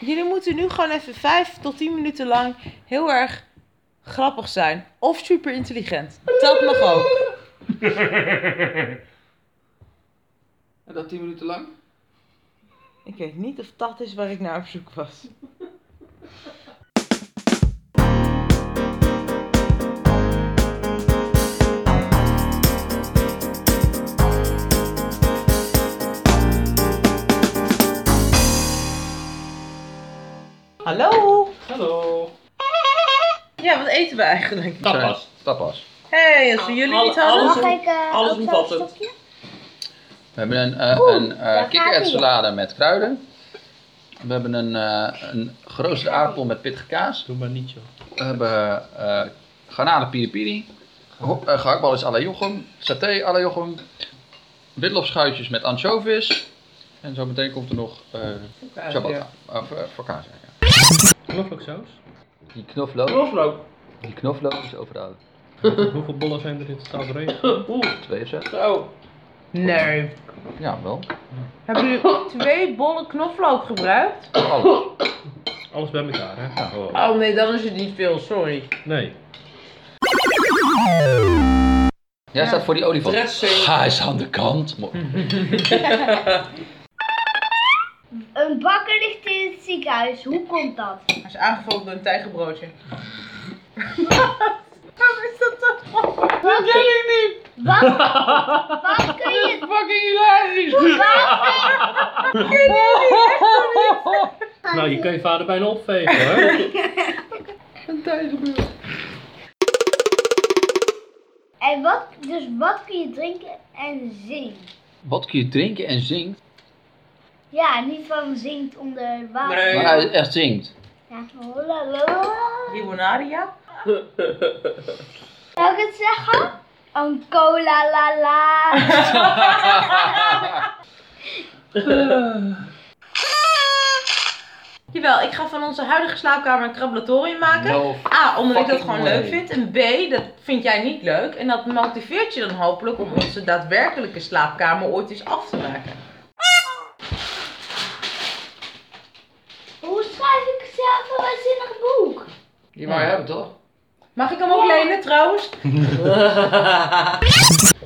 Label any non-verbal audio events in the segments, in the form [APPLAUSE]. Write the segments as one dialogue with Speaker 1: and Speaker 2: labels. Speaker 1: Jullie moeten nu gewoon even 5 tot 10 minuten lang heel erg grappig zijn. Of super intelligent. Dat mag ook.
Speaker 2: En dat 10 minuten lang?
Speaker 1: Ik weet niet of dat is waar ik naar op zoek was. Hallo!
Speaker 2: Hallo.
Speaker 1: Ja, wat eten we eigenlijk?
Speaker 2: Tapas.
Speaker 3: Tapas.
Speaker 1: hey, als we jullie
Speaker 2: Alle-
Speaker 1: niet hadden.
Speaker 2: alles-
Speaker 4: Mag ik eh,
Speaker 2: alles
Speaker 4: ook
Speaker 2: moet
Speaker 4: zo'n
Speaker 2: altijd.
Speaker 4: stokje?
Speaker 3: We hebben een, eh
Speaker 4: Oeh,
Speaker 3: een
Speaker 4: daar
Speaker 3: eh
Speaker 4: gaat-ie.
Speaker 3: kikkererwtssalade met kruiden. We hebben een, eh een geroosterde aardappel met pittige kaas.
Speaker 5: Doe maar niet, joh.
Speaker 3: We hebben eh garnalen piri piri. Ho- eh, gehaktbal is à la Jochem. Saté à la Jochem. Witloopschuitjes met anchovies. En zo meteen komt er nog eh ciabatta. Of eh, focaccia, ja.
Speaker 5: Knoflooksaus?
Speaker 3: Die knoflook,
Speaker 2: Knoflook.
Speaker 3: die knoflook is overal.
Speaker 5: Hoeveel bollen zijn er in totaal verregen?
Speaker 2: Oeh,
Speaker 3: Twee of zo?
Speaker 2: zo.
Speaker 1: Nee.
Speaker 3: Ja, wel.
Speaker 1: Hebben [LAUGHS] jullie twee bollen knoflook gebruikt?
Speaker 3: Alles.
Speaker 5: Alles bij elkaar, hè?
Speaker 3: Ja.
Speaker 5: Oh.
Speaker 1: Oh nee, dan is het niet veel, sorry.
Speaker 5: Nee.
Speaker 3: Jij staat voor die olifant.
Speaker 2: Dressing.
Speaker 3: Ga eens aan de kant. Mo-
Speaker 4: Hm. Een bakker ligt in het ziekenhuis. Hoe komt dat?
Speaker 1: Hij is aangevallen door een tijgerbroodje. Waarom is dat toch
Speaker 4: Wat kun je
Speaker 1: niet?
Speaker 4: Wat, wat kun je...
Speaker 1: fucking hilarisch?
Speaker 5: Nou, je kan je vader bijna opvegen, hoor.
Speaker 4: En wat, dus wat kun je drinken en zingen?
Speaker 3: Wat kun je drinken en zingt,
Speaker 4: Ja, niet van zingt onder water.
Speaker 2: Nee.
Speaker 3: maar hij echt [LAUGHS] zingt?
Speaker 4: Ja, holalala.
Speaker 1: Limonadia?
Speaker 4: Zou ik het zeggen? Een cola la la.
Speaker 1: Jawel, ik ga van onze huidige slaapkamer een krabbelatorium maken.
Speaker 3: No
Speaker 1: A, omdat ik dat
Speaker 3: fucking
Speaker 1: gewoon
Speaker 3: way.
Speaker 1: leuk vind. En B, dat vind jij niet leuk. En dat motiveert je dan hopelijk om onze daadwerkelijke slaapkamer ooit eens af te maken.
Speaker 4: Hoe schrijf ik zelf een waanzinnig boek?
Speaker 2: Die wou je hebben toch?
Speaker 1: Mag ik hem ook lenen [LAUGHS] trouwens?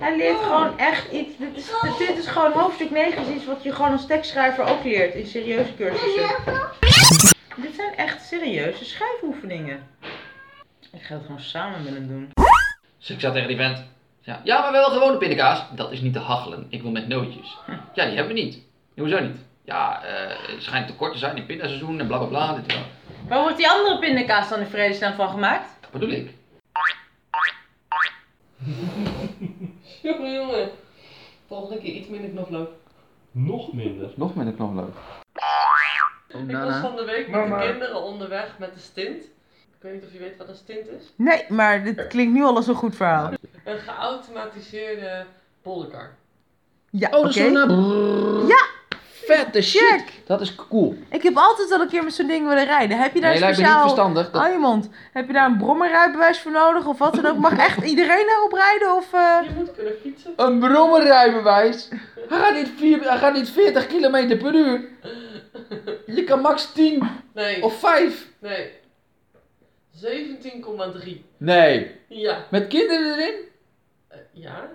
Speaker 1: Hij leert gewoon echt iets. Dit is, dit- dit is gewoon hoofdstuk 9, is iets wat je gewoon als tekstschrijver ook leert in serieuze cursussen. Dit zijn echt serieuze schrijfoefeningen. Ik ga het gewoon samen met hem doen.
Speaker 3: Dus ik zat tegen die vent. Ja, ja, maar wel gewone pindakaas. Dat is niet te hachelen. Ik wil met nootjes. Ja, die hebben we niet. Ja, hoezo niet? Ja, eh, het schijnt tekort te zijn in pindaseizoen en bla bla bla. Dit en dat.
Speaker 1: Waar wordt die andere pindakaas dan in vredesnaam van gemaakt?
Speaker 3: Dat bedoel ik.
Speaker 2: Jongen, jongen. Volgende keer iets minder knoflook.
Speaker 5: Nog minder.
Speaker 3: Nog met een knoflook. Oh,
Speaker 2: Ik was van de week met
Speaker 1: Mama.
Speaker 2: de kinderen onderweg met de stint. Ik weet niet of je weet wat een stint is.
Speaker 1: Nee, maar dit klinkt nu al als een goed verhaal.
Speaker 2: Een geautomatiseerde polderkar.
Speaker 1: Ja,
Speaker 3: dat is zo'n... eh,
Speaker 1: Ja.
Speaker 3: Vette shit.
Speaker 1: Check.
Speaker 3: Dat is cool.
Speaker 1: Ik heb altijd wel een keer met zo'n ding willen rijden. Heb je daar
Speaker 3: Nee, lijkt me niet
Speaker 1: speciaal...
Speaker 3: verstandig. Dat...
Speaker 1: Oh, je mond. Heb je daar een brommerrijbewijs voor nodig of wat dan ook? Mag echt iedereen daarop rijden of... eh?
Speaker 2: Je moet kunnen fietsen.
Speaker 3: Een brommerrijbewijs? Hij gaat, niet vier, hij gaat niet 40 km per uur. Je kan max 10
Speaker 2: Nee,
Speaker 3: of 5.
Speaker 2: nee. 17,3.
Speaker 3: Nee.
Speaker 2: Ja.
Speaker 3: Met kinderen erin?
Speaker 2: Eh, ja.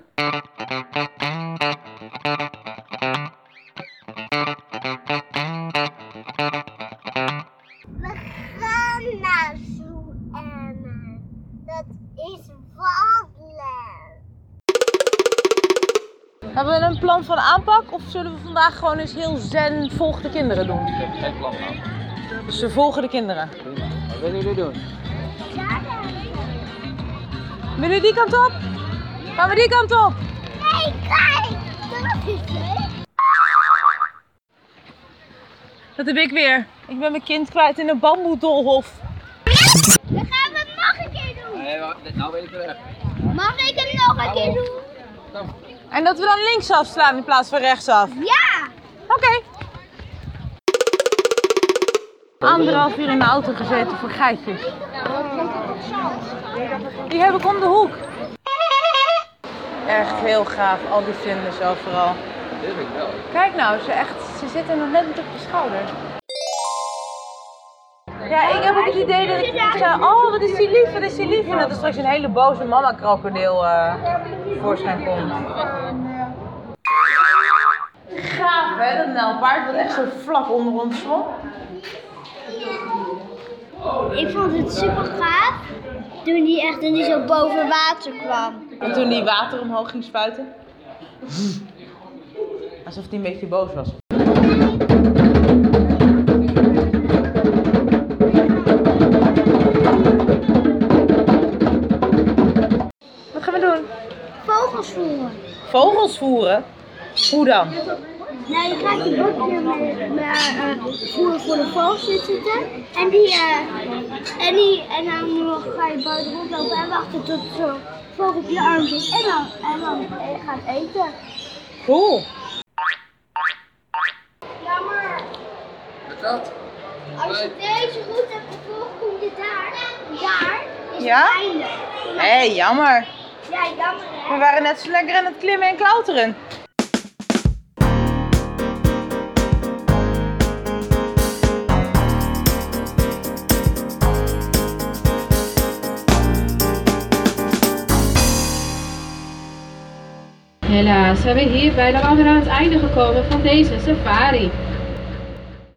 Speaker 4: We gaan naar Zoo Emma. Dat is wandelen.
Speaker 1: Hebben we een plan van aanpak of zullen we vandaag gewoon eens heel zen volg de kinderen doen? Ik heb geen plan Dus we volgen de kinderen.
Speaker 3: Wat willen jullie doen?
Speaker 1: Willen jullie die kant op? Gaan we die kant op?
Speaker 4: Hey, kijk! Dat is leuk.
Speaker 1: Dat heb ik weer. Ik ben mijn kind kwijt in een bamboedolhof.
Speaker 4: We gaan het nog een keer doen.
Speaker 3: nou weet ik het echt.
Speaker 4: Mag ik het nog een keer doen?
Speaker 1: En dat we dan linksaf slaan in plaats van rechtsaf.
Speaker 4: Ja!
Speaker 1: Oké. Anderhalf uur in de auto gezeten voor geitjes. Die heb ik om de hoek. Echt heel gaaf, al die vlinders overal.
Speaker 3: Dit vind ik wel.
Speaker 1: Kijk nou, ze, echt, ze zitten nog net op je schouder. Ja, ik heb ook het idee dat ik, ik zei, oh wat is die lief, wat is die lief. En dat er straks een hele boze mama krokodil eh voorschijn komt. Gaaf hè, dat nijlpaard wat echt zo vlak onder ons zwom.
Speaker 4: Ik vond het super gaaf toen hij echt niet zo boven water kwam.
Speaker 1: En toen die water omhoog ging spuiten. Alsof die een beetje boos was. Wat gaan we doen?
Speaker 4: Vogels voeren.
Speaker 1: Vogels voeren? Hoe dan?
Speaker 4: Nou, je krijgt een bokje met, met eh, voer voor de vogels zitten. En, die, eh, en, die, en dan nog ga je buiten rondlopen en wachten tot zo'n vogel op je arm zit. En dan, en dan eh, gaat eten.
Speaker 1: Cool.
Speaker 4: Jammer.
Speaker 3: Dat.
Speaker 4: Als je deze goed hebt gevolgd, kom je daar. Daar is
Speaker 1: Ja?
Speaker 4: het einde.
Speaker 1: Hé, hey, jammer.
Speaker 4: Ja, jammer hè.
Speaker 1: We waren net zo lekker aan het klimmen en klauteren.
Speaker 6: Helaas zijn we hierbij dan alweer aan het einde gekomen van deze safari.